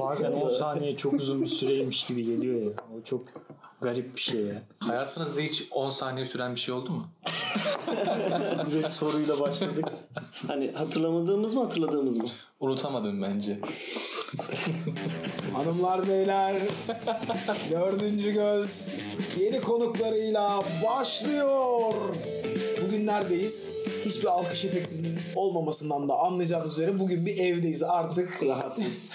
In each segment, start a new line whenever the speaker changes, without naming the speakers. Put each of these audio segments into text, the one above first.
Bazen 10 saniye çok uzun bir süreymiş gibi geliyor ya. O çok garip bir şey ya.
Hayatınızda hiç 10 saniye süren bir şey oldu mu?
Direkt soruyla başladık.
Hani hatırlamadığımız mı hatırladığımız mı?
Unutamadın bence.
Hanımlar beyler dördüncü göz yeni konuklarıyla başlıyor. Bugün neredeyiz? Hiçbir alkış efektinin olmamasından da anlayacağınız üzere bugün bir evdeyiz artık. Rahatız.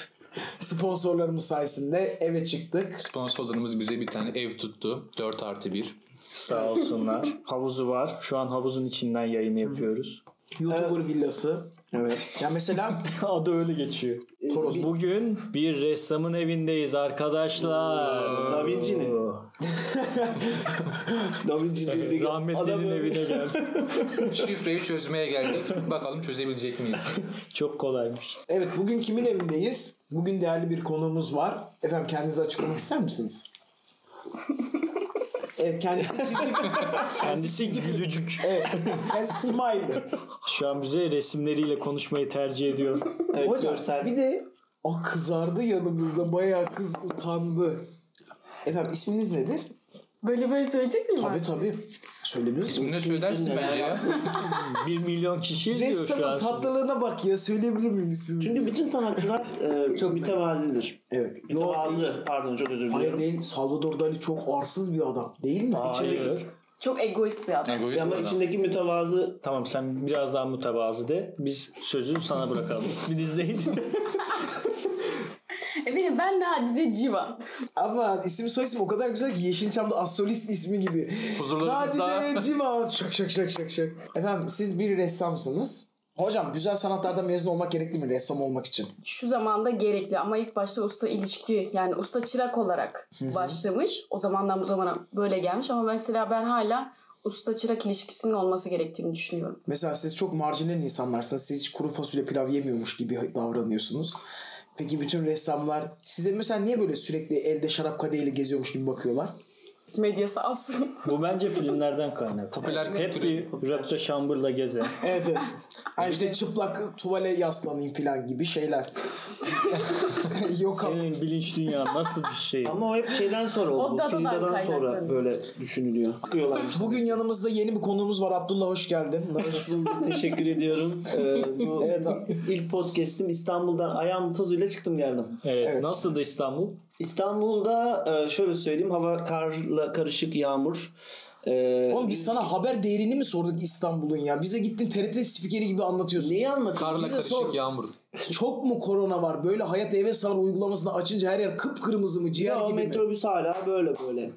Sponsorlarımız sayesinde eve çıktık.
Sponsorlarımız bize bir tane ev tuttu. 4 artı 1.
Sağ olsunlar. Havuzu var. Şu an havuzun içinden yayını yapıyoruz.
YouTuber villası.
Evet.
Ya mesela
Adı öyle geçiyor.
Toros bu.
Bugün bir ressamın evindeyiz arkadaşlar.
Da Vinci'nin. Da Vinci'nin de
Rahmetli'nin evine geldik.
Şifreyi çözmeye geldik. Bakalım çözebilecek miyiz?
Çok kolaymış.
Evet bugün kimin evindeyiz? Bugün değerli bir konuğumuz var. Efendim kendinizi açıklamak ister misiniz? Evet kendisi çizgi
Kendisi gülücük.
Evet. Ben smile.
Şu an bize resimleriyle konuşmayı tercih ediyor.
Evet,
Hocam
görsel.
bir de o kızardı yanımızda. Bayağı kız utandı. Efendim isminiz nedir?
Böyle böyle söyleyecek miyim?
Tabii
ben?
tabii. Söyleyebiliriz mi?
Şimdi ne söylersin bence ya?
1 milyon kişi izliyor şu an.
Ressamın
sizi.
tatlılığına bak ya. Söyleyebilir miyim ismini?
Çünkü bütün sanatçılar e, çok mütevazidir.
Evet. Yo,
Mütevazı. Pardon çok özür
hayır
diliyorum.
değil. Salvador Dali çok arsız bir adam. Değil mi?
Hayır.
Çok egoist bir adam.
Egoist
Ama
adam.
içindeki mütevazı
Tamam sen biraz daha mütevazı de. Biz sözü sana bırakalım. İsminiz neydi?
Efendim ben Nadide Civa.
Ama isim soy isim o kadar güzel ki Yeşilçam'da asolist ismi gibi.
Huzurlarınızda-
Nadide Civan. Şak şak şak şak şak. Efendim siz bir ressamsınız. Hocam güzel sanatlarda mezun olmak gerekli mi ressam olmak için?
Şu zamanda gerekli ama ilk başta usta ilişki yani usta çırak olarak başlamış. O zamandan bu zamana böyle gelmiş ama mesela ben hala usta çırak ilişkisinin olması gerektiğini düşünüyorum.
Mesela siz çok marjinal insanlarsınız. Siz hiç kuru fasulye pilav yemiyormuş gibi davranıyorsunuz. Peki bütün ressamlar size mesela niye böyle sürekli elde şarap kadehiyle geziyormuş gibi bakıyorlar?
Medya sağ olsun.
Bu bence filmlerden kaynak.
Popüler
Hep
kültürü.
bir rapte şambırla gezen.
Evet evet. Ha işte çıplak tuvale yaslanayım falan gibi şeyler. Yok ama.
Senin bilinç dünyan nasıl bir şey?
ama o hep şeyden sonra oldu.
O
O
dadadan
Fildadan sonra
kaynaklanıyor.
böyle düşünülüyor. Bakıyorlar.
Bugün yanımızda yeni bir konuğumuz var. Abdullah hoş geldin. Nasılsın?
Teşekkür ediyorum. Ee, bu
Evet abi.
ilk podcast'im İstanbul'dan ayağım tozuyla çıktım geldim.
Evet.
Evet.
Nasıl da İstanbul?
İstanbul'da e, şöyle söyleyeyim hava karla karışık yağmur. E,
Oğlum biz sana haber değerini mi sorduk İstanbul'un ya? Bize gittin TRT spikeri gibi anlatıyorsun.
Neyi anlatayım?
Karla
Bize
karışık
sor.
yağmur.
Çok mu korona var? Böyle hayat eve sar uygulamasını açınca her yer kıpkırmızı mı? Ciğer
Ya,
gibi mi?
metrobüs hala böyle böyle.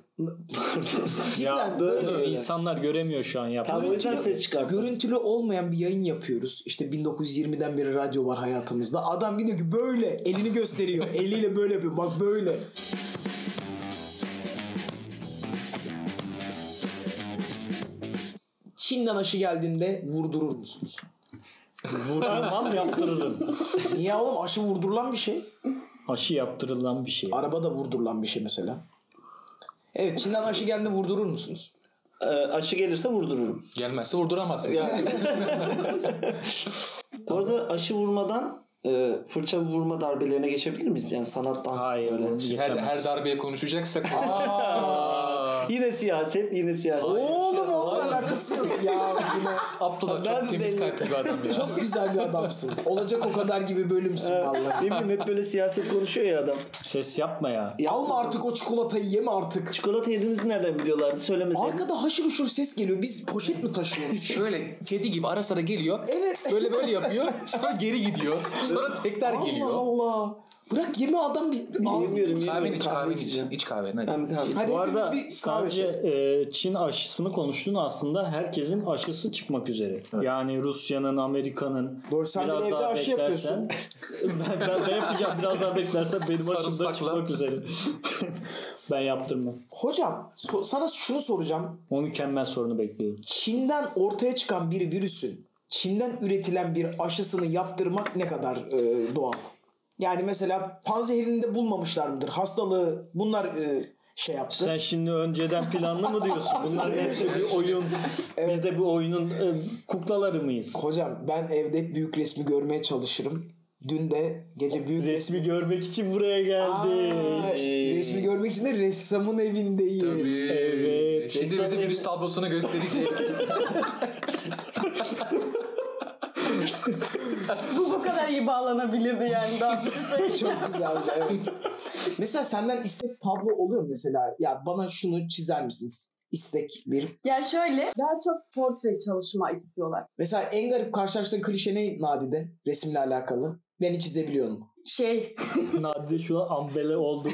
Cidden
Ya
böyle.
böyle-
Böyle insanlar göremiyor şu an
Ya
yaptığını.
o yüzden ses çıkartıyor.
Görüntülü olmayan bir yayın yapıyoruz. İşte 1920'den beri radyo var hayatımızda. Adam gidiyor ki böyle elini gösteriyor. Eliyle böyle yapıyor. Bak böyle. Çin'den aşı geldiğinde vurdurur musunuz?
Vuramam yaptırırım.
Niye oğlum aşı vurdurulan bir şey?
Aşı yaptırılan bir şey.
Arabada vurdurulan bir şey mesela. Evet Çin'den aşı geldiğinde vurdurur musunuz?
E, aşı gelirse vurdururum.
Gelmezse vurduramazsın.
Bu arada aşı vurmadan e, fırça vurma darbelerine geçebilir miyiz? Yani sanattan.
Hayır.
böyle.
onu
her,
geçemez.
her darbeye konuşacaksak.
Yine siyaset, yine siyaset.
Oğlum onunla alakası yok ya. Yine
Abdullah
Ben-
çok temiz
ben-
kalpli bir adam ya.
çok güzel bir adamsın. Olacak o kadar gibi bölümsün
Ne
vallahi.
bileyim hep böyle siyaset konuşuyor ya adam.
Ses yapma ya.
Ya
Alma artık o çikolatayı yeme artık.
çikolata yediğimizi nereden biliyorlardı söylemeseydin.
Arkada haşır huşur ses geliyor. Biz poşet mi taşıyoruz?
Şöyle kedi gibi ara sıra geliyor.
Evet.
Böyle böyle yapıyor. Sonra geri gidiyor. Sonra tekrar
Allah
geliyor.
Allah. Bırak yeme adam bir ağzını.
Yemiyorum, yemiyorum.
Kahveni iç,
Kahve
kahveni iç.
içeceğim.
İç kahveni hadi.
Ben- ha.
Hadi
Bu
hepimiz
arada
bir şey. kahve
sadece
içelim.
e, Çin aşısını konuştun aslında herkesin aşısı çıkmak üzere. Yani Rusya'nın, Amerika'nın
Doğru, sen bile evde aşı yapıyorsun.
ben, ben de yapacağım. Biraz daha beklersen benim aşım da
Sarımsakla.
çıkmak üzere. ben yaptırmam.
Hocam so- sana şunu soracağım.
O mükemmel sorunu bekliyorum.
Çin'den ortaya çıkan bir virüsün Çin'den üretilen bir aşısını yaptırmak ne kadar e, doğal? Yani mesela panzehirini de bulmamışlar mıdır? Hastalığı bunlar e, şey yaptı.
Sen şimdi önceden planlı mı diyorsun? Bunların hepsi bir oyun. Biz de bu oyunun e, kuklaları mıyız?
Hocam ben evde hep büyük resmi görmeye çalışırım. Dün de gece büyük
Resmi görmek için buraya
Aa,
geldik.
resmi görmek için de ressamın evindeyiz.
Tabii.
Evet.
Şimdi bize
Resmen-
virüs tablosunu gösterecek.
Bu bu kadar iyi bağlanabilirdi yani. Daha bir şey.
Çok güzel. Evet. mesela senden istek tablo oluyor mu mesela. Ya bana şunu çizer misiniz? İstek bir.
yani şöyle daha çok portre çalışma istiyorlar.
Mesela en garip karşılaştığın klişe ne Nadide? Resimle alakalı. Beni çizebiliyor mu?
Şey
Nadide şu an ambele oldu.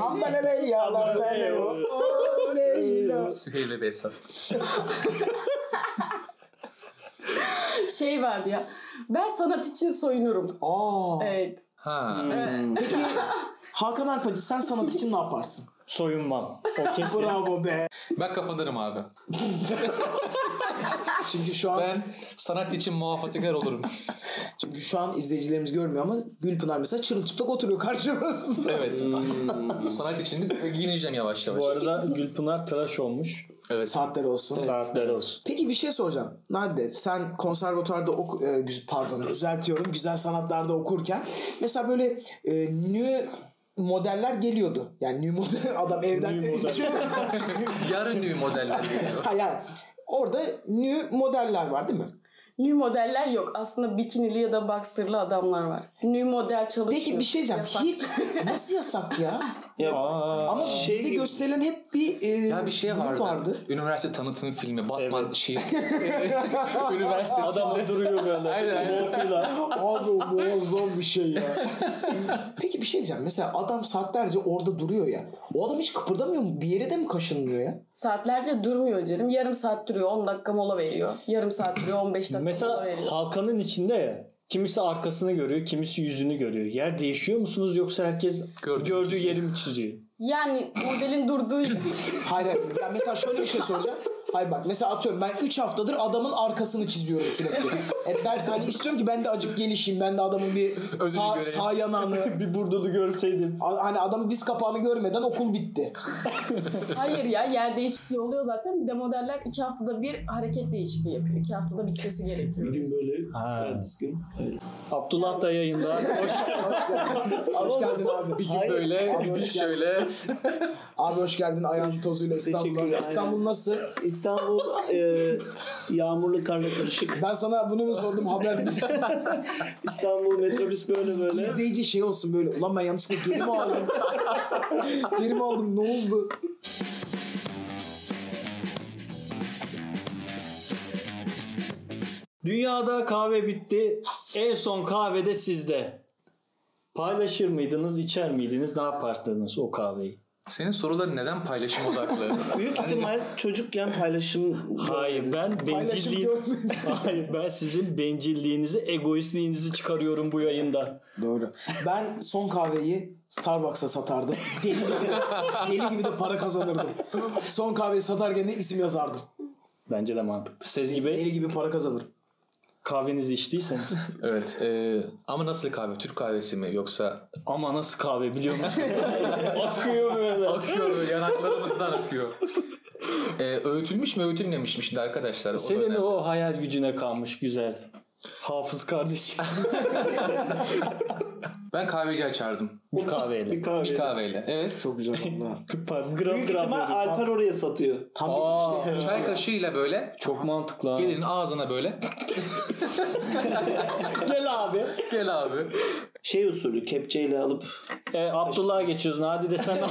Amma ne ne ya lan ne ne o. O ne ya.
Süheyl ve Esat.
şey vardı ya. Ben sanat için soyunurum.
Aa.
Evet.
Ha.
Peki Hakan Alpacı sen sanat için ne yaparsın?
Soyunmam. O kesin.
Bravo be.
Ben kapanırım abi.
Çünkü şu an
Ben sanat için muhafazakar olurum.
çünkü şu an izleyicilerimiz görmüyor ama Gülpınar mesela çırılçıplak oturuyor karşımızda.
Evet. sanat için de giyineceğim yavaş yavaş.
Hmm. Bu arada Gülpınar tıraş olmuş.
Evet.
Saatler olsun.
Saatler olsun.
Peki bir şey soracağım. Nadide sen konservatuvarda oku, e, güz- pardon düzeltiyorum güzel sanatlarda okurken mesela böyle e, nü modeller geliyordu. Yani nü model adam evden
Nü model.
Yarın düğün modeller geliyor.
Ha, yani orada nü modeller var değil mi?
Nü modeller yok. Aslında bikinili ya da boxerlı adamlar var. Nü model çalışıyor.
Peki bir şey diyeceğim.
Yasak.
Hiç nasıl yasak ya?
Aa,
Ama bize gösterilen hep bir e,
Şey Ya bir şey
grup
vardı.
vardı.
Üniversite tanıtım filmi. Batman şey,
Evet.
şiir. Üniversite.
adam duruyor böyle.
Aynen.
Montuyla.
Abi o muazzam bir şey ya. Peki bir şey diyeceğim. Mesela adam saatlerce orada duruyor ya. O adam hiç kıpırdamıyor mu? Bir yere de mi kaşınmıyor ya?
Saatlerce durmuyor canım. Yarım saat duruyor. 10 dakika mola veriyor. Yarım saat duruyor. 15 dakika mola
Mesela
veriyor.
Hakan'ın içinde ya. Kimisi arkasını görüyor, kimisi yüzünü görüyor. Yer değişiyor musunuz yoksa herkes
Gördüğünü
gördüğü yeri mi çiziyor?
Yani modelin durduğu
Hayır hayır. Ya mesela şöyle bir şey soracağım. Hayır bak mesela atıyorum ben 3 haftadır adamın arkasını çiziyorum sürekli. E ben hani istiyorum ki ben de acık gelişeyim. Ben de adamın bir
Özünü
sağ,
görelim.
sağ yanağını.
bir burdulu görseydim.
A- Hani adamın diz kapağını görmeden okul bitti.
Hayır ya yer değişikliği oluyor zaten. Bir de modeller iki haftada bir hareket değişikliği yapıyor. İki haftada bitmesi gerekiyor.
böyle
Ha.
ertesi gün. Evet.
Abdullah da yayında. Hoş
Hoş geldin abi.
Bir gün böyle, bir şey- gün şöyle.
Abi hoş geldin ayağın tozuyla İstanbul'a.
Teşekkürler,
İstanbul
aynen.
nasıl?
İstanbul e, yağmurlu karla karışık.
Ben sana bunu mu sordum haber mi?
İstanbul metrobüs böyle böyle.
İzleyici şey olsun böyle. Ulan ben yanlışlıkla geri mi aldım? geri mi aldım ne oldu?
Dünyada kahve bitti. En son kahve de sizde. Paylaşır mıydınız, içer miydiniz, ne yapardınız o kahveyi?
Senin soruların neden paylaşım odaklı?
Büyük ihtimal çocukken paylaşım
Hayır ben
Paylaşım
bencilliğin...
görmedim.
Hayır ben sizin bencilliğinizi, egoistliğinizi çıkarıyorum bu yayında.
Doğru. Ben son kahveyi Starbucks'a satardım. Deli gibi, deli gibi de para kazanırdım. Son kahveyi satarken de isim yazardım.
Bence de mantıklı. Sezgi Bey
Deli gibi para kazanırım.
kahvenizi içtiyseniz.
evet. e, ama nasıl kahve? Türk kahvesi mi yoksa?
Ama nasıl kahve biliyor musun? Akıyor böyle.
Akıyor böyle yanaklarımızdan akıyor. E, öğütülmüş mü öğütülmemiş mi şimdi arkadaşlar? O da
Senin
önemli.
o hayal gücüne kalmış güzel. Hafız kardeşim.
Ben kahveci açardım.
bir
bir
kahveyle.
kahve.
Bir kahveyle. Evet.
Çok güzel valla.
gram
Büyük
gram
ihtimal
veriyor.
Alper oraya satıyor.
Tam
Aa,
bir şey. işte.
Çay kaşığıyla böyle.
Çok mantıklı ha.
Gelin ağzına böyle.
Gel abi.
Gel abi.
Şey usulü kepçeyle alıp.
E, Abdullah'a geçiyoruz. Hadi de sen al.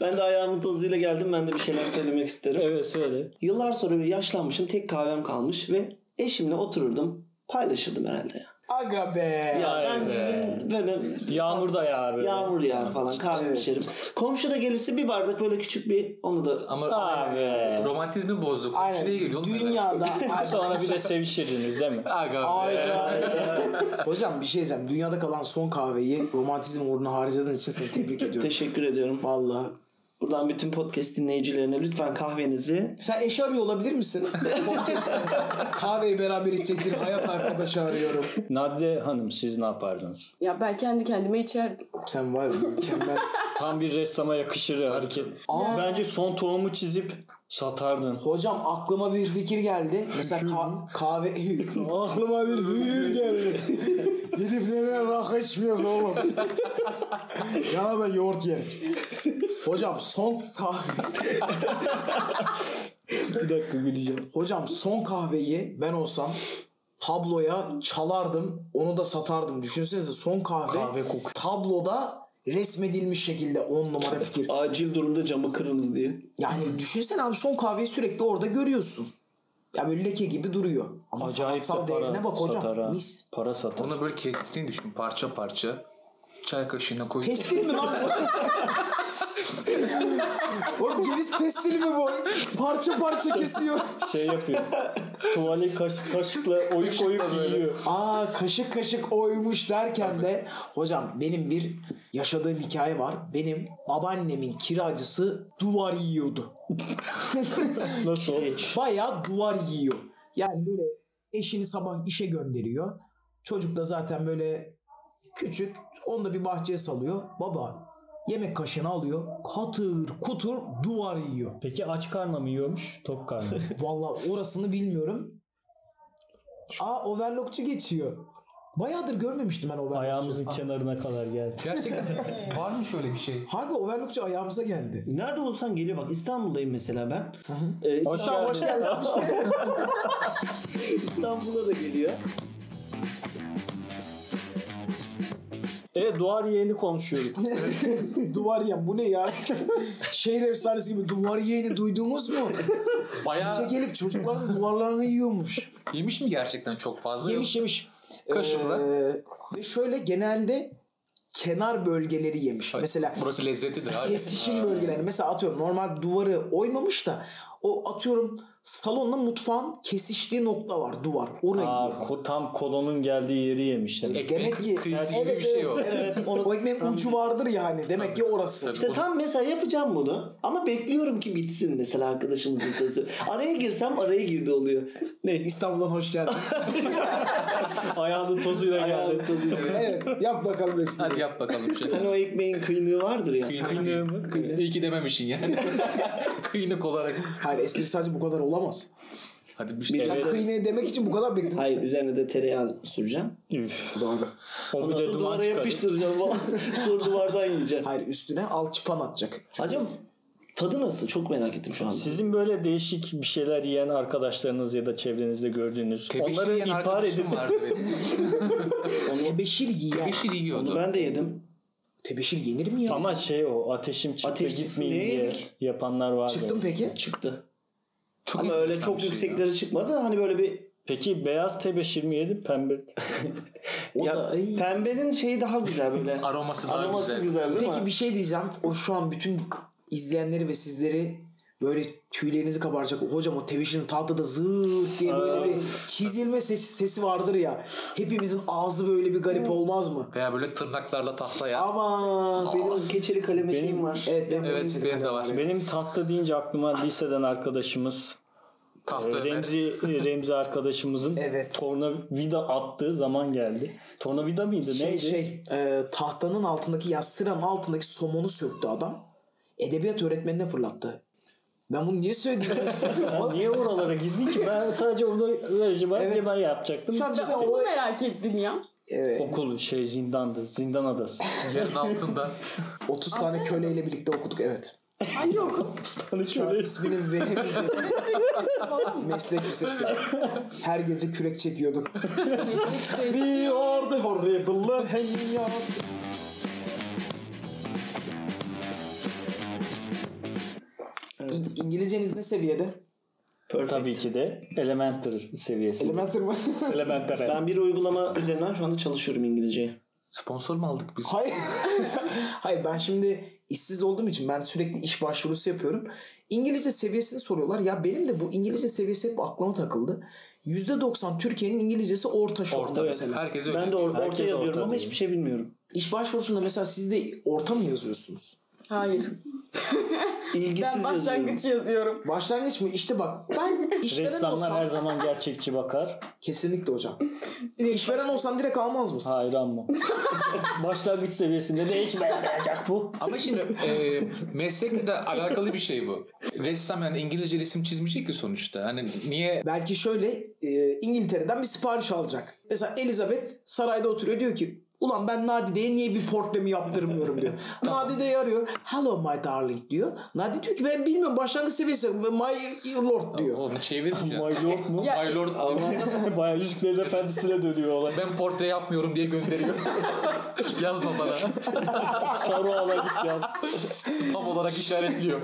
Ben de ayağımın tozuyla geldim. Ben de bir şeyler söylemek isterim.
evet söyle.
Yıllar sonra bir yaşlanmışım. Tek kahvem kalmış ve eşimle otururdum. Paylaşırdım herhalde.
Aga be.
Ya, ben
be.
böyle
Yağmur da yağar böyle.
Yağmur yağar falan kahve içerim. Komşu da gelirse bir bardak böyle küçük bir onu da
Ama
Abi.
romantizmi bozduk.
Aynen.
Şuraya geliyor. oğlum neler?
Dünyada.
Sonra bir de sevişirdiniz değil mi?
Aga be.
Ayda. Hocam bir şey diyeceğim. Dünyada kalan son kahveyi romantizm uğruna harcadığın için seni tebrik ediyorum.
teşekkür ediyorum.
Valla
Buradan bütün podcast dinleyicilerine lütfen kahvenizi
Sen eş arıyor olabilir misin? Podcast'te. Kahveyi beraber içecek bir hayat arkadaşı arıyorum.
Nadide Hanım siz ne yapardınız?
Ya ben kendi kendime içerdim.
Sen var ya mükemmel.
Tam bir ressama yakışır hareket. Ama bence son tohumu çizip satardın.
Hocam aklıma bir fikir geldi. Mesela ka- kahve... aklıma bir fikir geldi. Gidip nereye rakı içmiyoruz oğlum. Yana da yoğurt yedik. Hocam son kahve...
Bir dakika güleceğim.
Hocam son kahveyi ben olsam tabloya çalardım. Onu da satardım. Düşünsenize son kahve,
Kahve kokuyor.
tabloda resmedilmiş şekilde on numara fikir.
acil durumda camı kırınız diye.
Yani düşünsene abi son kahveyi sürekli orada görüyorsun. Ya böyle leke gibi duruyor. Ama
Acayip de
sanatsal değerine
para
bak hocam.
satar ha.
Mis.
Para satar.
Onu böyle kestiğini düşün parça parça. Çay kaşığına koy.
Pestil mi lan bu? Oğlum ceviz pestili mi bu? Parça parça kesiyor.
Şey yapıyor. Tuvali kaş, kaşıkla oyuk oyuk yiyor.
Aa kaşık kaşık oymuş derken de hocam benim bir yaşadığım hikaye var. Benim babaannemin kiracısı duvar yiyordu.
Nasıl?
Bayağı duvar yiyor. Yani böyle eşini sabah işe gönderiyor. Çocuk da zaten böyle küçük. Onu da bir bahçeye salıyor. Baba yemek kaşığını alıyor. Katır kutur duvar yiyor.
Peki aç karnla mı yiyormuş? Tok karnla. mı?
Vallahi orasını bilmiyorum. Aa overlockçu geçiyor. Bayağıdır görmemiştim ben overlockçu.
Ayağımızın kenarına kadar geldi.
Gerçekten var mı şöyle bir şey?
Harbi overlockçu ayağımıza geldi.
Nerede olsan geliyor bak İstanbul'dayım mesela ben. Ee,
Hoş
İstanbul-
geldin.
İstanbul'a da geliyor.
E duvar yeğeni konuşuyorduk.
duvar yiyen bu ne ya? Şehir efsanesi gibi duvar yiyeni duydunuz mu? Gece
Bayağı
gelip çocukların duvarlarını yiyormuş.
yemiş mi gerçekten çok fazla?
Yemiş yemiş.
Kaşıkla.
Ee, ve şöyle genelde kenar bölgeleri yemiş.
Yok.
Mesela
Burası lezzetlidir abi.
kesişim bölgelerini mesela atıyorum normal duvarı oymamış da o atıyorum salonla mutfağın kesiştiği nokta var duvar. Orayı
Aa,
yiyor.
ko- tam kolonun geldiği yeri yemiş. Yani.
Ekmek
Demek ki
kıyısı gibi
evet,
bir şey o.
evet, evet. o ekmeğin ucu vardır yani. Demek ki orası.
Tabii.
İşte tam mesela yapacağım bunu ama bekliyorum ki bitsin mesela arkadaşımızın sözü. Araya girsem araya girdi oluyor. Ne?
İstanbul'dan hoş geldin.
Ayağının tozuyla
Ayağım
geldi.
tadıyor.
evet, yap bakalım espriyi.
Hadi yap bakalım bir şey.
Hani o ekmeğin kıynığı vardır ya.
Kıyını mı? İyi ki dememişsin yani. Kıyınık olarak.
Hayır espri sadece bu kadar olamaz.
Hadi bir şey.
Sen kıyne demek için bu kadar bekledin.
Hayır üzerine de tereyağı süreceğim.
Üf.
Doğru.
O bir
Ondan
de
sonra
duman
duvara
çıkarıyor.
yapıştıracağım falan. Sonra duvardan yiyeceğim.
Hayır üstüne alçıpan atacak.
Acaba tadı nasıl? Çok merak ettim şu anda.
Sizin böyle değişik bir şeyler yiyen arkadaşlarınız ya da çevrenizde gördüğünüz
Tebeşir
onları
yiyen
ihbar
arkadaşım
edin.
vardı benim.
Tebeşir yiyen.
Tebeşir
Bunu
yiyordu.
ben de yedim.
Tebeşir yenir mi ya?
Ama şey o ateşim çıktı
Ateş çıksın
gitmeyin
diye
diye
yedik.
yapanlar vardı.
Çıktım peki.
Çıktı.
Çok
Ama öyle
enteresan
çok
bir şey ya.
yükseklere çıkmadı. Hani böyle bir
Peki beyaz tebeşir mi yedin pembe?
O
ya,
da ay.
pembenin şeyi daha güzel böyle.
Aroması daha
Aroması
güzel.
güzel. değil mi?
Peki bir şey diyeceğim. O şu an bütün izleyenleri ve sizleri böyle tüylerinizi kabaracak. Hocam o tebeşirin tahtada zıt diye böyle bir çizilme ses- sesi vardır ya. Hepimizin ağzı böyle bir garip olmaz mı?
Veya böyle tırnaklarla tahtaya.
Ama
Benim keçeli kaleme şeyim var.
evet benim, de
Evet
neyse de
benim de
kalem
var.
Benim tahta deyince aklıma liseden arkadaşımız
Tahta
e,
Ah, Ömer.
Remzi Remzi arkadaşımızın
Evet.
tornavida attığı zaman geldi. Tornavida mıydı
Şey
neydi?
şey e, tahtanın altındaki ya sıranın altındaki somonu söktü adam. Edebiyat öğretmenine fırlattı. Ben bunu niye söyledim?
Ya niye oralara girdin ki? Ben sadece onu acaba
Evet.
ben yapacaktım.
Şu an bize
Çıktı.
o...
Bunu merak ettim ya.
Evet,
Okul şey zindandı. Zindan adası.
Yerin altında.
30 tane köleyle birlikte okuduk evet.
Hangi okul?
Hani
Şu an
şöyle
ismini veremeyeceğim
Falan mı?
meslek lisesi. Her gece kürek çekiyorduk.
İşte
We are the horrible hangers. İng- İngilizceniz ne seviyede?
Perfect.
tabii ki de elementary seviyesi.
Elementary mı?
Elementer.
Ben bir uygulama üzerinden şu anda çalışıyorum İngilizceyi.
Sponsor mu aldık biz?
Hayır. Hayır ben şimdi işsiz olduğum için ben sürekli iş başvurusu yapıyorum. İngilizce seviyesini soruyorlar. Ya benim de bu İngilizce seviyesi hep aklıma takıldı. %90 Türkiye'nin İngilizcesi orta şu anda
Orta
mesela.
Herkes öyle.
Ben de or- orta
Herkes
yazıyorum
orta
ama
diyor.
hiçbir şey bilmiyorum.
İş başvurusunda mesela siz de orta mı yazıyorsunuz?
Hayır. Ben
İlgisiz yazıyorum.
başlangıç yazıyorum.
Başlangıç mı? İşte bak ben işveren
Ressamlar
olsam...
her zaman gerçekçi bakar.
Kesinlikle hocam.
Direkt
İşveren olsan direkt almaz mısın?
Hayır ama. Başlangıç seviyesinde değişmeyecek bu.
Ama şimdi e, meslekle de alakalı bir şey bu. Ressam yani İngilizce resim çizmeyecek ki sonuçta. Hani niye
Belki şöyle e, İngiltere'den bir sipariş alacak. Mesela Elizabeth sarayda oturuyor diyor ki Ulan ben Nadide'ye niye bir portremi yaptırmıyorum diyor. Nadide'yi arıyor. Hello my darling diyor. Nadide diyor ki ben bilmiyorum başlangıç seviyesi my lord diyor.
onu çevirmeyeceğim?
Oh My lord mu?
Ya-
My Lord demiş.
Bayağı Yüzüklerin Efendisi'ne dönüyor olay.
ben portre yapmıyorum diye gönderiyor. Yazma bana.
Saruhan'a git yaz.
Spam olarak işaretliyor.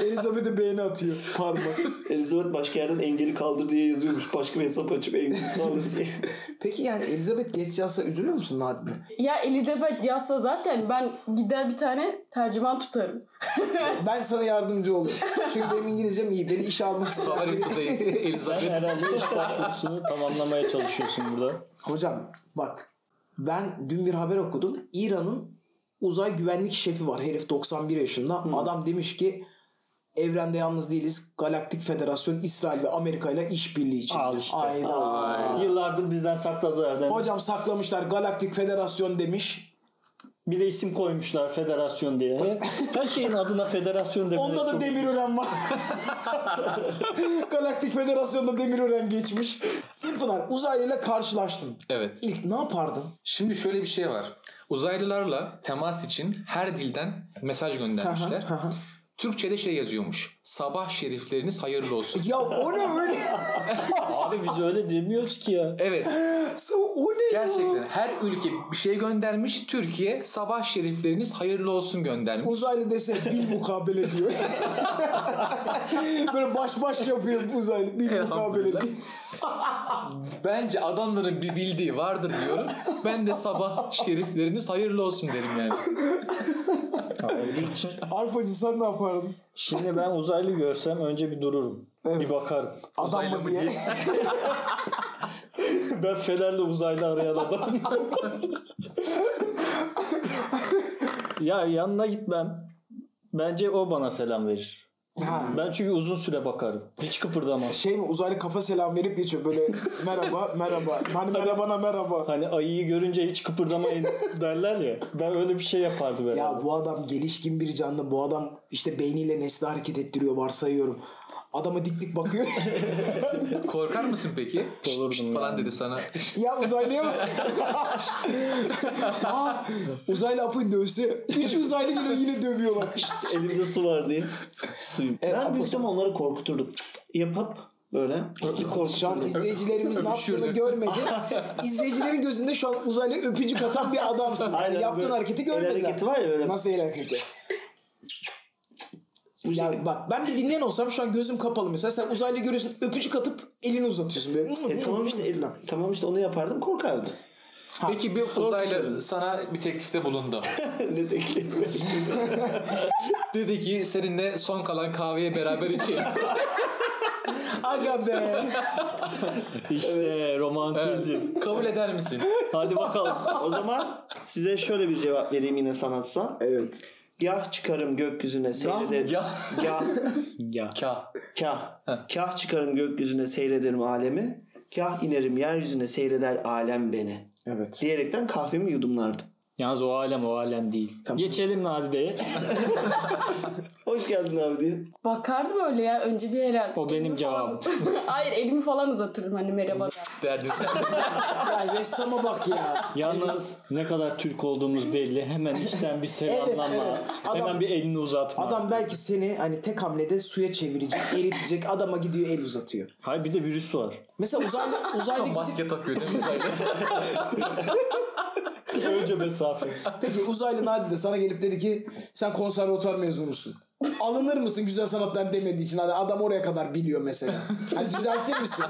Elizabeth'e beğeni atıyor parmak.
Elizabeth başka yerden engeli kaldır diye yazıyormuş. Başka bir hesap açıp engeli kaldır diye.
Peki yani Elizabeth geç yazsa üzülür müsün Nadide?
Ya Elizabeth yazsa zaten ben gider bir tane tercüman tutarım.
Ben sana yardımcı olurum. Çünkü benim İngilizcem iyi. Beni işe almak ister.
Favorim kızı
Sen
Elizabeth.
herhalde iş başvurusunu tamamlamaya çalışıyorsun burada.
Hocam bak ben dün bir haber okudum. İran'ın uzay güvenlik şefi var. Herif 91 yaşında. Adam demiş ki evrende yalnız değiliz. Galaktik Federasyon İsrail ve Amerika ile işbirliği için.
Al işte.
Ayda.
Yıllardır bizden sakladılar. demek.
Hocam saklamışlar Galaktik Federasyon demiş.
Bir de isim koymuşlar federasyon diye. Her şeyin adına federasyon demek.
Onda da
çok-
Demirören var. Galaktik Federasyon'da Demirören geçmiş. Pınar uzaylıyla karşılaştın.
Evet.
İlk ne yapardın?
Şimdi şöyle bir şey var. Uzaylılarla temas için her dilden mesaj göndermişler. Türkçe'de şey yazıyormuş. Sabah şerifleriniz hayırlı olsun.
Ya o ne öyle?
Abi biz öyle demiyoruz ki ya.
Evet.
o ne ya?
Gerçekten her ülke bir şey göndermiş. Türkiye sabah şerifleriniz hayırlı olsun göndermiş.
Uzaylı dese bil mukabele diyor. Böyle baş baş yapıyor bu uzaylı bil mukabele
Elhamdülillah.
diyor.
Bence adamların bir bildiği vardır diyorum. Ben de sabah şerifleriniz hayırlı olsun derim yani.
Arpacı sen ne yapardın?
Şimdi ben uzaylı görsem önce bir dururum. Bir bakarım.
Adam
Uzaylı
mı
mı
diye.
Ben Fener'le uzaylı arayan adamım. ya yanına gitmem. Bence o bana selam verir.
Ha.
Ben çünkü uzun süre bakarım. Hiç kıpırdamam.
Şey mi uzaylı kafa selam verip geçiyor böyle merhaba merhaba. Hani merhabana merhaba.
Hani ayıyı görünce hiç kıpırdamayın derler ya. Ben öyle bir şey yapardım herhalde.
Ya bu adam gelişkin bir canlı. Bu adam işte beyniyle nesli hareket ettiriyor varsayıyorum. Adama dik dik bakıyor.
Korkar mısın peki? Şşt,
Olurdum
şşt falan
yani.
dedi sana.
ya uzaylıya bak. Aa, uzaylı apın dövse. Üç uzaylı geliyor yine dövüyorlar.
Elimde su var diye.
ben büyüksem onları korkuturdum. Yapıp böyle.
Şu an izleyicilerimiz ne yaptığını
Öpüşürdü.
görmedi. İzleyicilerin gözünde şu an uzaylı öpücük atan bir adamsın. Yani
Aynen,
yaptığın
böyle
hareketi
El
görmediler.
hareketi var ya böyle.
Nasıl el hareketi? Ya bak ben bir dinleyen olsam şu an gözüm kapalı mesela sen uzaylı görüyorsun öpücük atıp elini uzatıyorsun böyle.
E, tamam işte el- tamam işte onu yapardım korkardım.
Peki bir uzaylı sana bir teklifte bulundu.
ne teklif.
Dedi ki seninle son kalan kahveye beraber içelim.
Aga be.
İşte romantizm.
Kabul eder misin?
Hadi bakalım.
O zaman size şöyle bir cevap vereyim yine sanatsal.
Evet.
Gah çıkarım gökyüzüne seyrederim.
Ya.
Gah.
ya.
Ka.
Kah.
Heh.
Kah çıkarım gökyüzüne seyrederim alemi. Kah inerim yeryüzüne seyreder alem beni.
Evet.
Diyerekten kahvemi yudumlardım.
Yalnız o alem o alem değil. Geçelim Nadide'ye.
Hoş geldin abi diye.
Bakardım öyle ya önce bir herhalde.
O benim
Elimi falan- Hayır elimi falan uzatırdım hani merhaba.
Derdin sen.
Ya ressama bak ya.
Yalnız ne kadar Türk olduğumuz belli. Hemen içten bir selamlama.
Evet, evet. Adam-
Hemen bir elini uzatma.
Adam belki seni hani tek hamlede suya çevirecek, eritecek. Adama gidiyor el uzatıyor.
Hayır bir de virüs var.
Mesela uzaylı uzaylı gidip-
Maske takıyor değil mi uzaylı?
Önce mesafe.
Peki uzaylı Nadi de sana gelip dedi ki sen konservatuar mezunusun. Alınır mısın güzel sanatlar demediği için? Hani adam oraya kadar biliyor mesela. Hani düzeltir misin?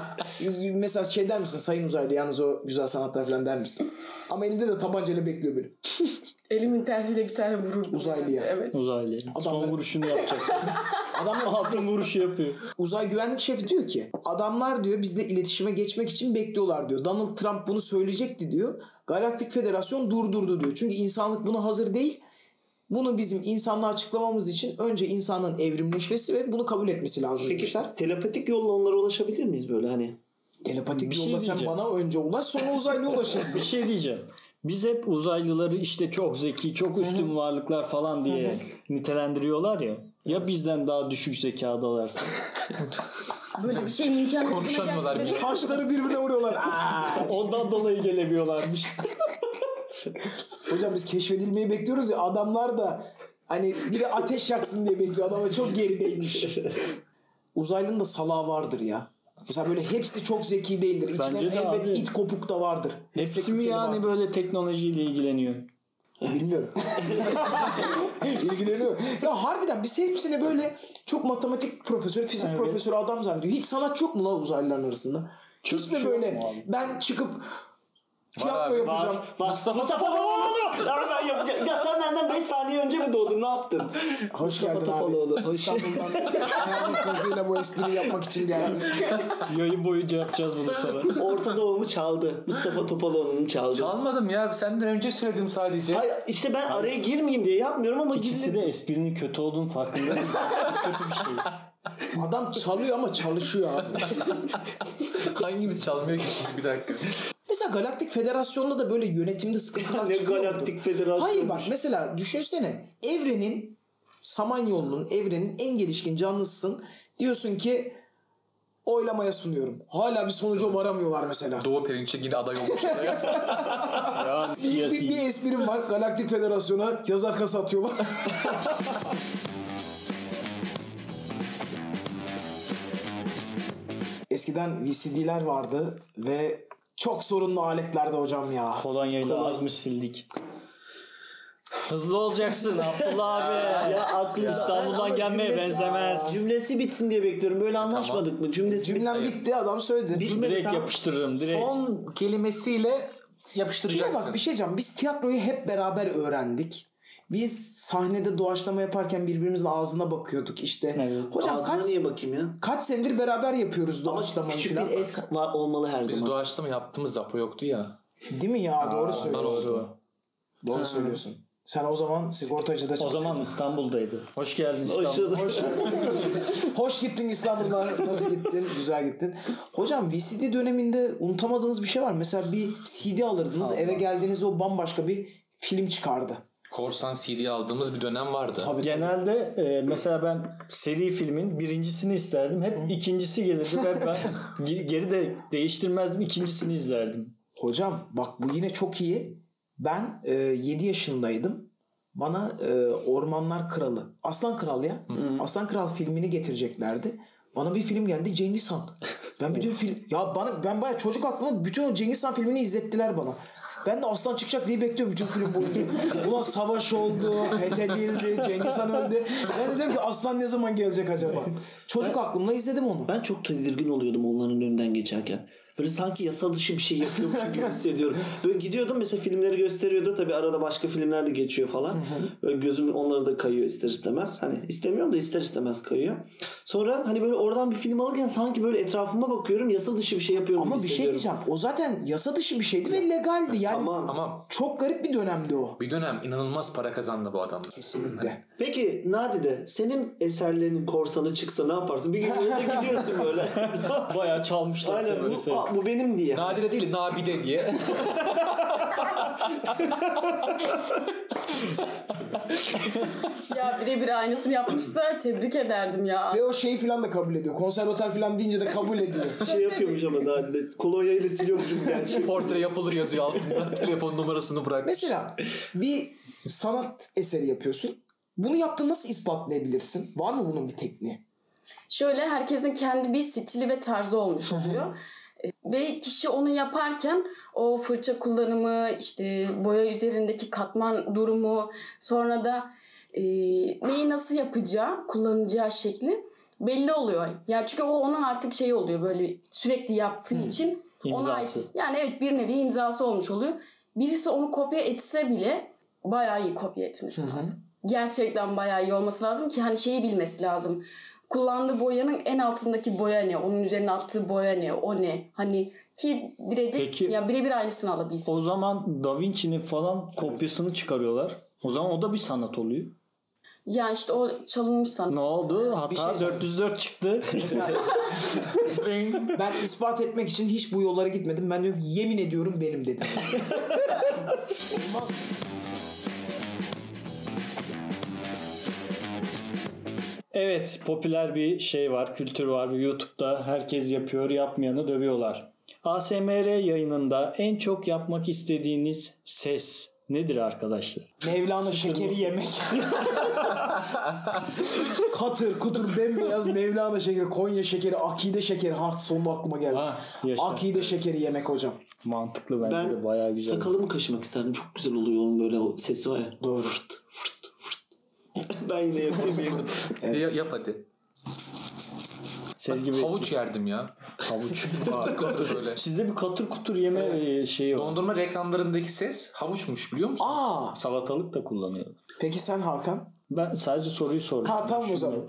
Mesela şey der misin sayın uzaylı yalnız o güzel sanatlar falan der misin? Ama elinde de tabancayla bekliyor biri.
Elimin tersiyle bir tane vururdum.
Uzaylıya.
Evet.
Uzaylı. Son vuruşunu yapacak.
Adamlar
Altın vuruşu yapıyor.
Uzay güvenlik şefi diyor ki adamlar diyor bizle iletişime geçmek için bekliyorlar diyor. Donald Trump bunu söyleyecekti diyor. Galaktik Federasyon durdurdu diyor. Çünkü insanlık buna hazır değil. Bunu bizim insanlığa açıklamamız için önce insanın evrimleşmesi ve bunu kabul etmesi lazım
Peki
demişler.
telepatik yolla onlara ulaşabilir miyiz böyle hani?
Telepatik
Bir şey
yolla sen
diyeceğim.
bana önce ulaş sonra uzaylı ulaşırsın.
Bir şey diyeceğim. Biz hep uzaylıları işte çok zeki, çok üstün varlıklar falan diye nitelendiriyorlar ya. Ya bizden daha düşük zekadalarsa.
Böyle bir şey imkan yok.
Konuşamıyorlar bile.
Gerçekten-
Taşları birbirine vuruyorlar. Aa!
Ondan dolayı gelemiyorlarmış.
Hocam biz keşfedilmeyi bekliyoruz ya adamlar da hani biri ateş yaksın diye bekliyor. Adam da çok gerideymiş. Uzaylının da salağı vardır ya. Mesela böyle hepsi çok zeki değildir. İçlerinde
Bence de
elbet
abi.
it kopuk da vardır.
Hepsi mi
Meslek
yani
liseli
böyle teknolojiyle ilgileniyor?
vardır. Bilmiyorum. İlgileniyor. Ya harbiden biz hepsine böyle çok matematik profesörü, fizik
Evet.
profesörü adam zannediyor. Hiç sanat yok mu la uzaylıların arasında? Hiç mi
yok mu
böyle
abi?
ben çıkıp tiyatro
abi,
yapacağım.
Mustafa
Topaloğlu! Lan ben yapacağım. Ya sen benden 5 saniye önce mi doğdun? Ne yaptın?
Hoş geldin
Topaloğlu.
abi. İstanbul'dan ayağının kazığıyla bu espriyi yapmak için geldim.
Yayın boyunca yapacağız bunu sana.
Orta Doğu'mu çaldı. Mustafa Topaloğlu'nu çaldı.
Çalmadım ya. Senden önce söyledim sadece.
Hayır işte ben araya girmeyeyim diye yapmıyorum ama
İkisi
gizli.
de esprinin kötü olduğunun farkında değil. kötü bir şey.
Adam çalıyor ama çalışıyor abi.
Hangimiz çalmıyor ki şimdi bir dakika.
Mesela Galaktik Federasyonu'nda da böyle yönetimde sıkıntılar
Ne
çıkıyor muydu?
Galaktik Federasyonu?
Hayır bak mesela düşünsene evrenin Samanyolu'nun evrenin en gelişkin canlısısın. Diyorsun ki oylamaya sunuyorum. Hala bir sonuca varamıyorlar mesela.
Doğu Perinçek yine aday olmuş.
Ya
Bir, bir, bir
siyasi.
esprim var. Galaktik Federasyonu'na yazar kasa atıyorlar. Eskiden VCD'ler vardı ve çok sorunlu aletlerdi hocam ya.
Kolonyayla azmış sildik. Hızlı olacaksın Abdullah abi. ya aklın İstanbul'dan gelmeye
cümlesi-
benzemez.
Cümlesi bitsin diye bekliyorum. Böyle anlaşmadık mı? Cümlesi
Cümlem bitti adam söyledi. Bir
Bitmedi,
Direkt
tamam.
yapıştırırım direkt.
Son kelimesiyle
de
yapıştıracaksın.
bak bir şey diyeceğim. Biz tiyatroyu hep beraber öğrendik. Biz sahnede doğaçlama yaparken birbirimizin ağzına bakıyorduk işte.
Evet.
Hocam
Ağzına
kaç,
niye bakayım ya?
kaç senedir beraber yapıyoruz
Ama
doğaçlamayı
küçük
falan.
bir es var olmalı her
Biz
zaman.
doğaçlama yaptığımız depo yoktu ya.
Değil mi ya? doğru
Ondan
söylüyorsun.
oldu.
Doğru söylüyorsun. Sen o zaman sigortacıda
Ee, O
çalışıyordun.
zaman İstanbul'daydı. Hoş geldin İstanbul.
Hoş-
Hoş gittin İstanbul'a. Nasıl gittin? Güzel gittin. Hocam VCD döneminde unutamadığınız bir şey var. mı? Mesela bir CD alırdınız. Eve geldiğinizde o bambaşka bir film çıkardı.
Korsan CD aldığımız bir dönem vardı.
Tabii.
Genelde e, mesela ben seri filmin birincisini isterdim. Hep ikincisi gelirdi ve ben ge- geri de değiştirmezdim. ikincisini izlerdim.
Hocam bak bu yine çok iyi. Ben e, 7 yaşındaydım. Bana e, Ormanlar Kralı, Aslan Kral ya. Aslan Kral filmini getireceklerdi. Bana bir film geldi Cengiz Han. Ben bütün film ya bana ben bayağı çocuk aklımda bütün o Cengiz Han filmini izlettiler bana. Ben de aslan çıkacak diye bekliyorum bütün film boyunca. Ulan savaş oldu, fethedildi, Cengiz Han öldü. Ben de diyorum ki aslan ne zaman gelecek acaba? Çocuk aklımda izledim onu.
Ben çok tedirgin oluyordum onların önünden geçerken. Böyle sanki yasa dışı bir şey yapıyormuş gibi hissediyorum. Böyle gidiyordum mesela filmleri gösteriyordu. Tabii arada başka filmler de geçiyor falan. Böyle gözüm onlara da kayıyor ister istemez. Hani istemiyorum da ister istemez kayıyor. Sonra hani böyle oradan bir film alırken sanki böyle etrafıma bakıyorum yasa dışı bir şey yapıyorum
Ama
gibi
bir şey
hissediyorum.
diyeceğim. O zaten yasa dışı bir şeydi ve legaldi. Yani
Tamam.
Ama
Çok garip bir dönemdi o.
bir dönem inanılmaz para kazandı bu adamlar.
Kesinlikle.
Peki Nadide senin eserlerinin korsanı çıksa ne yaparsın? Bir gün önce gidiyorsun böyle.
Bayağı çalmışlar seni
Aynen
böyle
bu,
seri.
aa, bu benim diye.
Nadire değil Nabide diye.
Ya birebir aynısını yapmışlar. Tebrik ederdim ya.
Ve o şeyi falan da kabul ediyor. Konservatuar falan deyince de kabul ediyor.
şey yapıyormuş ama Nadide. Kolonya ile siliyormuşum gerçi.
Portre yapılır yazıyor altında. Telefon numarasını bırak.
Mesela bir sanat eseri yapıyorsun. Bunu yaptığını nasıl ispatlayabilirsin? Var mı bunun bir tekniği?
Şöyle herkesin kendi bir stili ve tarzı olmuş oluyor. E, Ve kişi onu yaparken o fırça kullanımı, işte boya üzerindeki katman durumu, sonra da e, neyi nasıl yapacağı, kullanacağı şekli belli oluyor. Ya çünkü o onun artık şeyi oluyor böyle sürekli yaptığı için ona
İmzası.
ait- şey. yani evet bir nevi imzası olmuş oluyor. Birisi onu kopya etse bile bayağı iyi kopya etmesi lazım. gerçekten bayağı iyi olması lazım ki hani şeyi bilmesi lazım. Kullandığı boyanın en altındaki boya ne? Onun üzerine attığı boya ne? O ne? Hani ki birebir
Peki.
ya birebir aynısını alabilsin.
O zaman Da Vinci'nin falan kopyasını çıkarıyorlar. O zaman o da bir sanat oluyor.
Ya işte o çalınmış
Ne
sanat.
oldu? Hata
şey sorayım.
404 çıktı.
Ben ispat etmek için hiç bu yollara gitmedim. Ben diyorum ki, yemin ediyorum benim dedim. Olmaz.
Evet popüler bir şey var, kültür var. YouTube'da herkes yapıyor, yapmayanı dövüyorlar. ASMR yayınında en çok yapmak istediğiniz ses nedir arkadaşlar?
Mevlana şekeri yemek. Katır kutur bembeyaz Mevlana şekeri, Konya şekeri, akide şekeri. Ha sonunda aklıma geldi.
Ha, yaşa.
akide şekeri yemek hocam.
Mantıklı bence
Ben
de bayağı güzel.
Sakalımı kaşımak isterdim. Çok güzel oluyor onun böyle o sesi var ya.
Doğru.
Ben yine yapayım.
Ya- yap hadi.
Ses Şey gibi.
Havuç yerdim ya.
Havuç.
Harika böyle.
Sizde bir katır kutur yeme e, şeyi var.
Dondurma reklamlarındaki ses havuçmuş biliyor musun?
Aa,
Salatalık da kullanıyor.
peki sen Hakan?
Ben sadece soruyu sordum.
Ha tamam o zaman.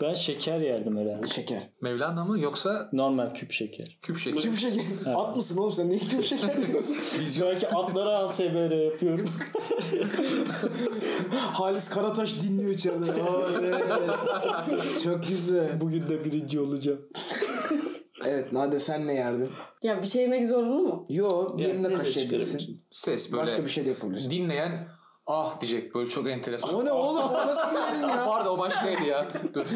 Ben şeker yerdim herhalde.
şeker.
Mevlana mı yoksa
Normal küp şeker.
küp şey şekli?
Küp şeker. At mısın oğlum sen? Niye küp şeker diyorsun?
Biz belki atlara ASMR yapıyorum.
Halis Karataş dinliyor içeride. Aa, evet. Çok güzel.
Bugün de birinci olacağım.
Evet Nade sen ne yerdin?
Ya bir şey yemek zorunlu mu?
Yo birine
neyse,
kaşıyabilirsin.
çıkarım.
Ses böyle.
Başka bir şey de yapabilirsin.
Dinleyen ah diyecek böyle çok enteresan.
O ne oğlum? O nasıl bir yayın ya?
Pardon o başkaydı ya. Dur.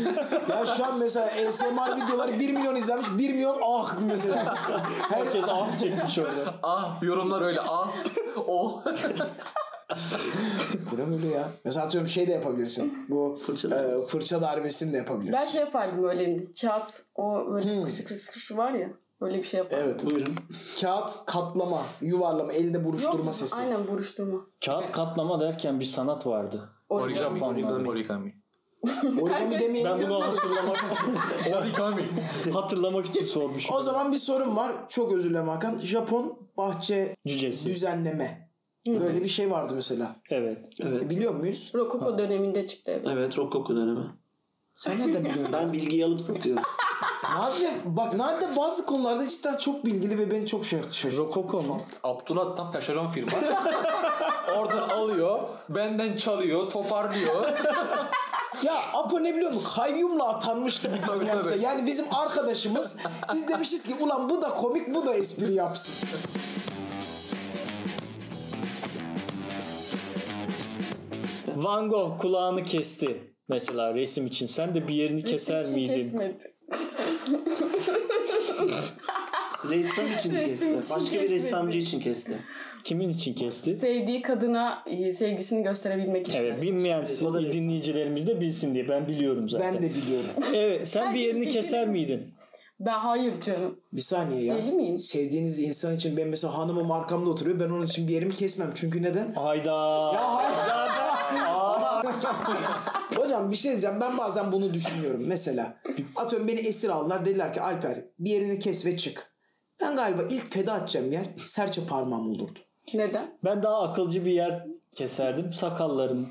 Ya şu an mesela ASMR videoları 1 milyon izlenmiş 1 milyon ah mesela. Herkes
Herkes af çekmiş orada.
Ah yorumlar öyle ah oh.
Bu ne böyle ya? Mesela atıyorum şey de yapabilirsin. Bu
Fırça
e, fırça darbesini de yapabilirsin.
Ben şey yapardım öyle kağıt o böyle
Hmm.
kışı kışı kışı var ya. Öyle bir şey yapardım.
Evet.
Buyurun.
Kağıt katlama, yuvarlama, elde
Yok,
buruşturma sesi.
Aynen buruşturma.
Kağıt katlama derken bir sanat vardı.
Origami. Origami.
Origami.
Origami.
Origami demeyin.
Ben bunu hatırlamak,
Origami.
hatırlamak için sormuşum.
O zaman bir sorum var. Çok özür dilerim Hakan. Japon bahçe
Cücesi.
düzenleme. Böyle bir şey vardı mesela.
Evet.
E,
Evet.
biliyor muyuz?
Rokoko döneminde çıktı evet.
Evet Rokoko dönemi.
Sen nereden biliyorsun?
Ben bilgiyi alıp satıyorum.
Nade, bak Nade bazı konularda cidden çok bilgili ve beni çok şey- şaşırtıyor.
Rokoko mu?
Abdullah tam taşeron firma. Oradan alıyor, benden çalıyor, toparlıyor.
Ya Apo ne biliyor musun? Kayyumla atanmış gibi bizim
Tabii,
yapsa.
tabii.
Yani bizim arkadaşımız biz demişiz ki ulan bu da komik bu da espri yapsın.
Van Gogh kulağını kesti. Mesela resim için. Sen de bir yerini keser
Resim
miydin?
Kesmedi.
Ressam için
Resim
kesti.
için
Başka bir
kesmedi.
ressamcı için kesti.
Kimin için kesti?
Sevdiği kadına e, sevgisini gösterebilmek için.
Evet bilmeyen
O da resim.
dinleyicilerimiz de bilsin diye. Ben biliyorum zaten.
Ben de biliyorum.
Evet sen
Herkes
bir yerini
bildiğini-
keser miydin?
Ben hayır canım.
Bir saniye ya.
Deli miyim?
Sevdiğiniz insan için ben mesela hanımım arkamda oturuyor. Ben onun için bir yerimi kesmem. Çünkü neden?
Hayda.
Ya hayır. Hocam bir şey diyeceğim. Ben bazen bunu düşünüyorum. Mesela atıyorum beni esir aldılar. Dediler ki Alper bir yerini kes ve çık. Ben galiba ilk feda edeceğim yer serçe parmağım olurdu.
Neden?
Ben daha akılcı bir yer keserdim. Sakallarım.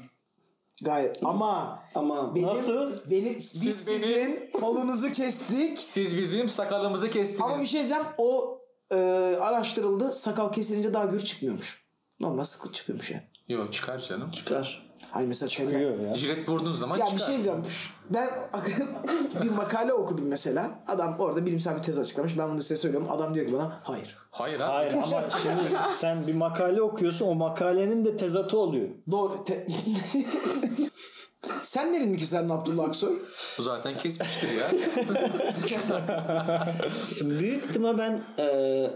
Gayet ama
Ama
benim,
Nasıl?
Beni, biz
Siz beni-
sizin kolunuzu kestik.
Siz bizim sakalımızı kestiniz.
Ama bir şey diyeceğim. O e, araştırıldı. Sakal kesilince daha gür çıkmıyormuş. Normal sıkı çıkıyormuş yani.
Yok çıkar canım.
çıkar.
Hani mesela senin
Kıyıyor ya.
Jilet vurduğun zaman
Ya
çıkar.
bir şey diyeceğim. Ben bir makale okudum mesela. Adam orada bilimsel bir tez açıklamış. Ben bunu size söylüyorum. Adam diyor ki bana hayır.
Hayır abi.
Hayır ama şimdi sen bir makale okuyorsun. O makalenin de tezatı oluyor.
Doğru. te- Sen nereni keserdin Abdullah Aksoy?
Bu zaten kesmiştir ya.
Büyük ihtimal ben eee,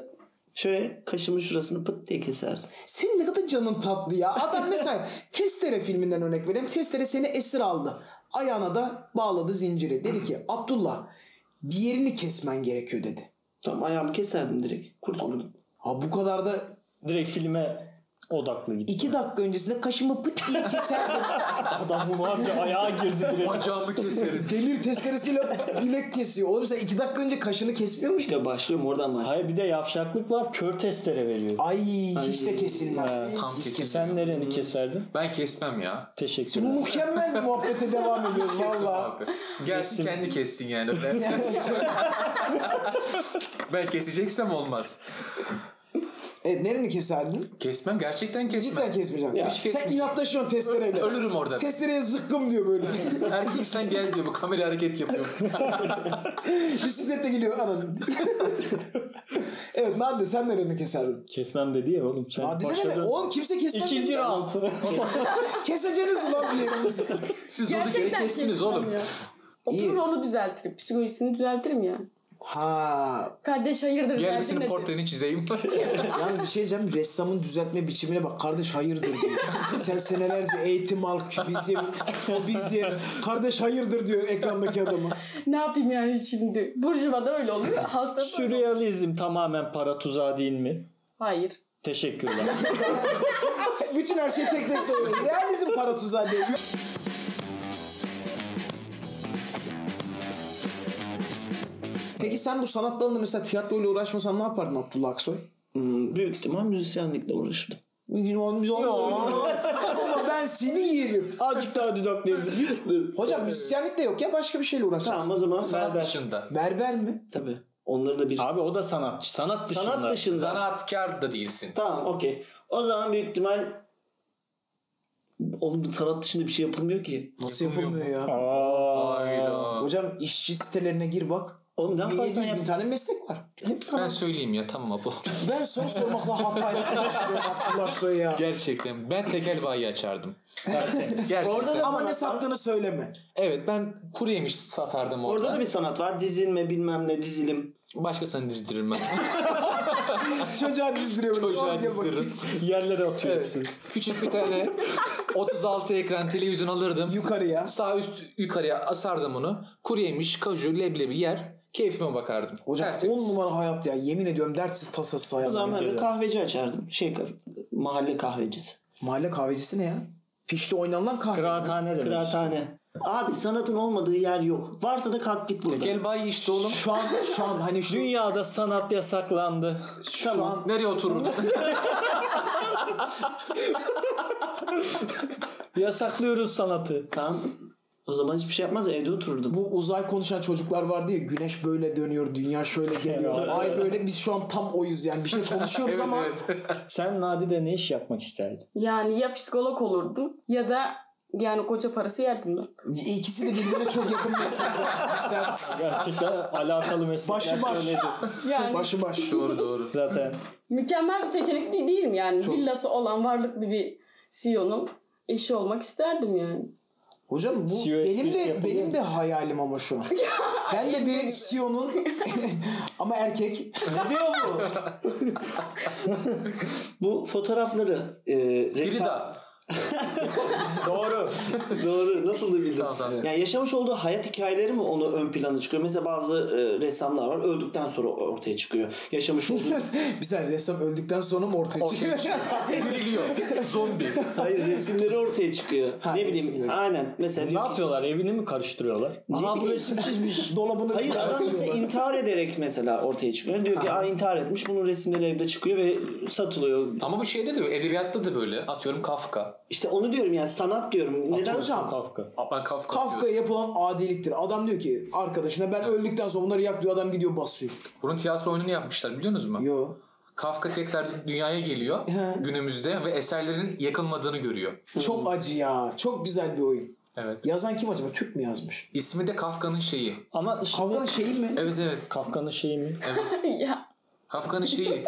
şöyle kaşımın şurasını pıt diye keserdim.
Senin ne kadar canın tatlı ya. Adam mesela Testere filminden örnek vereyim. Testere seni esir aldı. Ayağına da bağladı zinciri. Dedi ki Abdullah bir yerini kesmen gerekiyor dedi.
Tamam ayağımı keserdim direkt. Kurtulurdum.
Ha bu kadar da
Direkt filme Odaklı gitti.
İki dakika öncesinde kaşımı pıt diye keserdim.
Adam hunharca ayağa girdi direkt.
Bacağımı keserim.
Demir testeresiyle bilek kesiyor. Oğlum sen iki dakika önce kaşını kesmiyor musun?
İşte başlıyorum oradan başlıyorum.
Hayır bir de yavşaklık var. Kör testere veriyor.
Ay hiç de kesilmez.
Tam kesin.
Sen nereni keserdin?
Ben kesmem ya.
Bu
Teşekkürler.
mükemmel bir muhabbete devam ediyoruz valla.
Abi. Gelsin kendi kessin yani. Öyle. ben keseceksem olmaz.
Evet nereni keserdin?
Kesmem gerçekten
Cidden
kesmem.
kesmeyeceksin.
Ya, hiç
sen
kesmeyeceğim.
inatlaşıyorsun testereyle.
Ölürüm orada.
Testereye zıkkım diyor böyle.
Erkek sen gel diyor bu kamera hareket yapıyor.
Bisikletle geliyor ananı. evet Nade sen nereni keserdin?
Kesmem dedi ya oğlum. Sen
Nade ne demek?
başladın.
Oğlum kimse kesmez.
İkinci
dedi.
round.
Keseceğiniz ulan bir yerinizi.
Siz durduk yere kestiniz
kesmem
oğlum.
ya. Oturur onu düzeltirim. Psikolojisini düzeltirim ya.
Ha.
Kardeş hayırdır
Gel bir
derdin
senin
nedir?
portreni çizeyim.
Yalnız bir şey diyeceğim. Ressamın düzeltme biçimine bak. Kardeş hayırdır diyor. Sen senelerce eğitim al, kübizm, fobizm. Kardeş hayırdır diyor ekrandaki adama.
Ne yapayım yani şimdi? Burjuva'da öyle oluyor. Halkta da öyle.
Sürrealizm tamamen para tuzağı değil mi?
Hayır.
Teşekkürler.
Bütün her şey tek tek soruyor. Realizm para tuzağı diye. Peki sen bu sanat dalında mesela tiyatroyla uğraşmasan ne yapardın Abdullah Aksoy?
Hmm, büyük ihtimal müzisyenlikle uğraşırdım.
Biz on- biz on- Ama ben seni yerim.
Azıcık daha didaklayabilirim.
Hocam müzisyenlik de yok ya başka bir şeyle uğraşacaksın.
Tamam o zaman
Sanat
berber.
dışında.
Berber mi?
Tabii. Onların da bir
Abi o da sanatçı. Sanat dışında.
sanat dışında.
Zanaatkar da değilsin.
Tamam okey. O zaman büyük ihtimal oğlum bu sanat dışında bir şey yapılmıyor ki.
Nasıl yapılmıyor ya?
Aa,
Hayda.
Hocam işçi sitelerine gir bak.
Oğlum ne
Bir 700
yaparsan yap.
bin tane meslek var.
Hep
Ben
sanat.
söyleyeyim ya tamam bu.
Ben soru sormakla hata ettim. Abdullah Aksoy ya.
Gerçekten ben tekel bayi açardım. Gerçekten.
Ama ne sattığını söyleme.
Evet ben kuru yemiş satardım orada.
Orada da bir sanat var. Dizilme bilmem ne dizilim.
Başkasını dizdiririm ben.
Çocuğa dizdiriyor böyle.
Çocuğa
Al diye bak.
dizdiririm.
yerlere atıyor hepsini.
Küçük bir tane 36 ekran televizyon alırdım.
Yukarıya.
Sağ üst yukarıya asardım onu. Kuru yemiş, kaju, leblebi yer. Keyfime bakardım.
Hocam
Tertemiz.
10 numara hayat ya. Yemin ediyorum dertsiz tasasız hayat.
O zaman ben de
Gerçekten.
kahveci açardım. Şey mahalle kahvecisi.
Mahalle kahvecisi ne ya? Pişti oynanılan kahve.
Kıraathane demek.
Kıraathane. Abi sanatın olmadığı yer yok. Varsa da kalk git buradan.
Tekel bayi işte oğlum.
Şu an şu an hani şu,
Dünyada sanat yasaklandı.
şu an
Nereye otururdun?
Yasaklıyoruz sanatı.
Tamam. O zaman hiçbir şey yapmaz evde otururdum.
bu uzay konuşan çocuklar vardı ya güneş böyle dönüyor dünya şöyle geliyor ay böyle biz şu an tam oyuz yani bir şey konuşuyoruz
evet
ama
evet.
Sen Nadide ne iş yapmak isterdin?
Yani ya psikolog olurdum ya da yani koca parası yerdim ben.
ikisi de birbirine çok yakın meslekler cidden
Gerçekten alakalı meslekler
Başı baş.
söyledi.
Yani
başı baş
doğru doğru.
Zaten
mükemmel bir seçenek değil- değilim yani. Villası olan varlıklı bir CEO'nun eşi olmak isterdim yani.
hocam bu
CEO
benim
esprisi
de
yapılıyor
benim
mu?
de hayalim ama şu an ben de bir CEO'nun ama erkek
Bu fotoğrafları e,
Biri
ressam-
daha.
doğru.
Doğru. Nasıl da bildim.
Tamam, tamam.
Yani yaşamış olduğu hayat hikayeleri mi onu ön plana çıkıyor? Mesela bazı e, ressamlar var. Öldükten sonra ortaya çıkıyor. Yaşamış olduğu...
bir saniye ressam öldükten sonra mı ortaya çıkıyor
Ortaya çıkıyor. Yürülüyor. Zombi.
Hayır resimleri ortaya çıkıyor.
Ha,
ne bileyim.
resimleri.
Aynen. Mesela
E, Ne
diyor ki-
yapıyorlar? Evini mi karıştırıyorlar?
Aha bu
bileyim.
resim çizmiş. Dolabını
Hayır adam
şey
mesela intihar ederek mesela ortaya çıkıyor. Diyor ki Aa, intihar etmiş. Bunun resimleri evde çıkıyor ve satılıyor.
Ama bu şeyde de edebiyatta da böyle. Atıyorum Kafka.
İşte onu diyorum yani sanat diyorum. Neden
Hocam
Kafka.
Aa, Ben Kafka,
Kafka'ya
diyorum.
yapılan adiliktir. Adam diyor ki arkadaşına ben öldükten sonra bunları yak diyor. Adam gidiyor basıyor.
Bunun tiyatro oyununu yapmışlar biliyor musunuz mu?
Yo.
Kafka tekrar dünyaya geliyor
He.
günümüzde ve eserlerin yakılmadığını görüyor.
Çok acı ya. Çok güzel bir oyun.
Evet.
Yazan kim acaba? Türk mü yazmış?
İsmi de Kafka'nın şeyi.
Ama şimdi
Kafka'nın şeyi mi?
Evet evet.
Kafka'nın şeyi mi?
ya
Kafka'nın şeyi.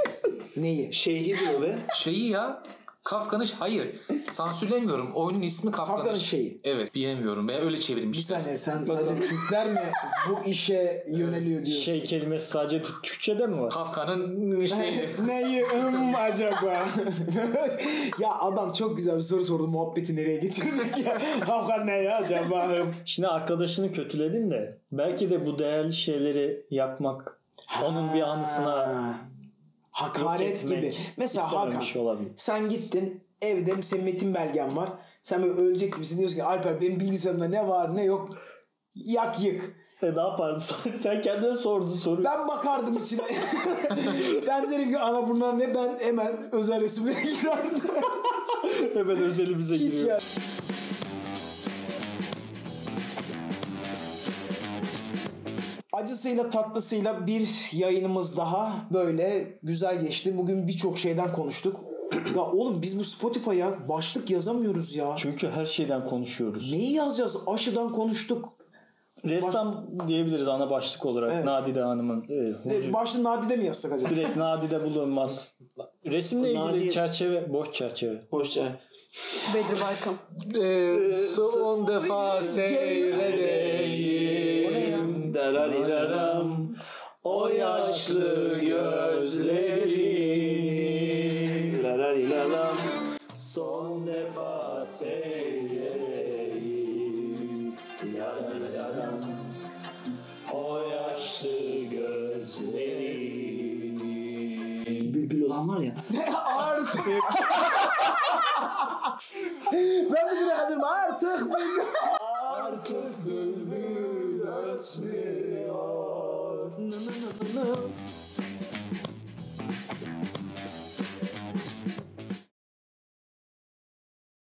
Neyi?
şeyhi diyor be.
şeyi ya. Kafka'nın hayır. Sansürlemiyorum. Oyunun ismi Kafka'nın,
Kafka'nın şeyi.
Evet bilemiyorum. Ben öyle çevirmişler.
Bir saniye sen sadece Türkler mi bu işe yöneliyor diyorsun?
Şey kelimesi sadece Türkçe'de mi var?
Kafka'nın şeyi.
Neyi ım acaba? ya adam çok güzel bir soru sordu. Muhabbeti nereye getirdik ya? Kafka ne acaba? Hım.
Şimdi arkadaşını kötüledin de belki de bu değerli şeyleri yakmak onun bir anısına
hakaret
Yok etmek
gibi. Mesela Hakan
istememiş olabilir.
sen gittin evde senin metin belgen var. Sen böyle ölecek gibisin diyorsun ki Alper benim bilgisayarımda ne var ne yok yak yık.
E ne yapardın? Sen kendine sordun soruyu.
Ben bakardım içine. ben derim ki ana bunlar ne ben hemen özel resimlere girerdim.
Hemen özelimize
Hiç ya.
giriyor.
Acısıyla tatlısıyla bir yayınımız daha böyle güzel geçti. Bugün birçok şeyden konuştuk. ya oğlum biz bu Spotify'a başlık yazamıyoruz ya.
Çünkü her şeyden konuşuyoruz.
Neyi yazacağız? Aşıdan konuştuk.
Ressam diyebiliriz ana başlık olarak.
Evet.
Nadide Hanım'ın e,
E,
huzuyu.
başlığı Nadide mi yazsak acaba?
Direkt Nadide bulunmaz. Resimle ilgili
Nadide-
çerçeve, boş çerçeve.
Hoşça.
Bedri Baykan.
Ee, son defa seyredeyim.
Derariraram. O yaşlı gözlerini. Derariraram. Son defa seyredeyim. Derariraram. O yaşlı gözlerini. Bülbül olan var ya.
Artık. ben de direkt hazırım. Artık.